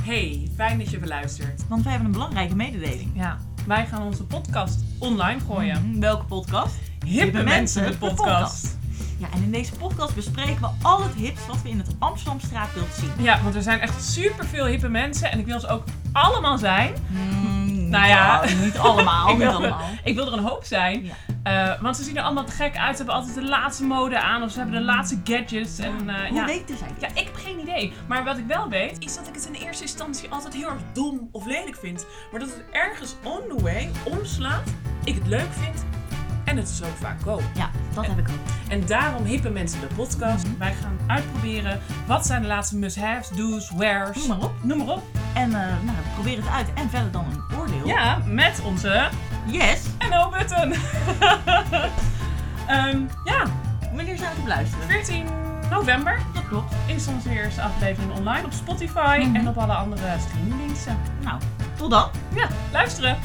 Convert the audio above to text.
Hey, fijn dat je beluistert. Want wij hebben een belangrijke mededeling. Ja, wij gaan onze podcast online gooien. Mhm, Welke podcast? Hippe mensen, de de podcast. Ja, en in deze podcast bespreken we al het hips wat we in het Amsterdam straatbeeld zien. Ja, want er zijn echt superveel hippe mensen en ik wil ze ook allemaal zijn. Mm, Nou ja. nou, niet allemaal, Ik niet wil- allemaal. Ik wil er een hoop zijn, Ja. eh, want ze zien er allemaal te gek uit. Ze hebben altijd de laatste mode aan of ze hebben de laatste gadgets. En, eh, Hoe ja. weten zij dit? Ja, ik heb geen idee. Maar wat ik wel weet, is dat ik het in eerste instantie altijd heel erg dom of lelijk vind. Maar dat het ergens on the way omslaat, ik het leuk vind en het is ook vaak koop. Ja, dat heb ik ook. En daarom hippe mensen de podcast. Mhm. Wij gaan uitproberen wat zijn de laatste must-haves, do's, wears. Noem maar op. Noem maar op. En eh, nou, probeer het uit en verder dan een oordeel. Ja, met onze Yes. NO-button. Ehm, ja, Wanneer zijn we te beluisteren? 14 november Dat klopt. is onze eerste aflevering online op Spotify Mhm. en op alle andere streamingdiensten. Nou, tot dan. Ja, luisteren!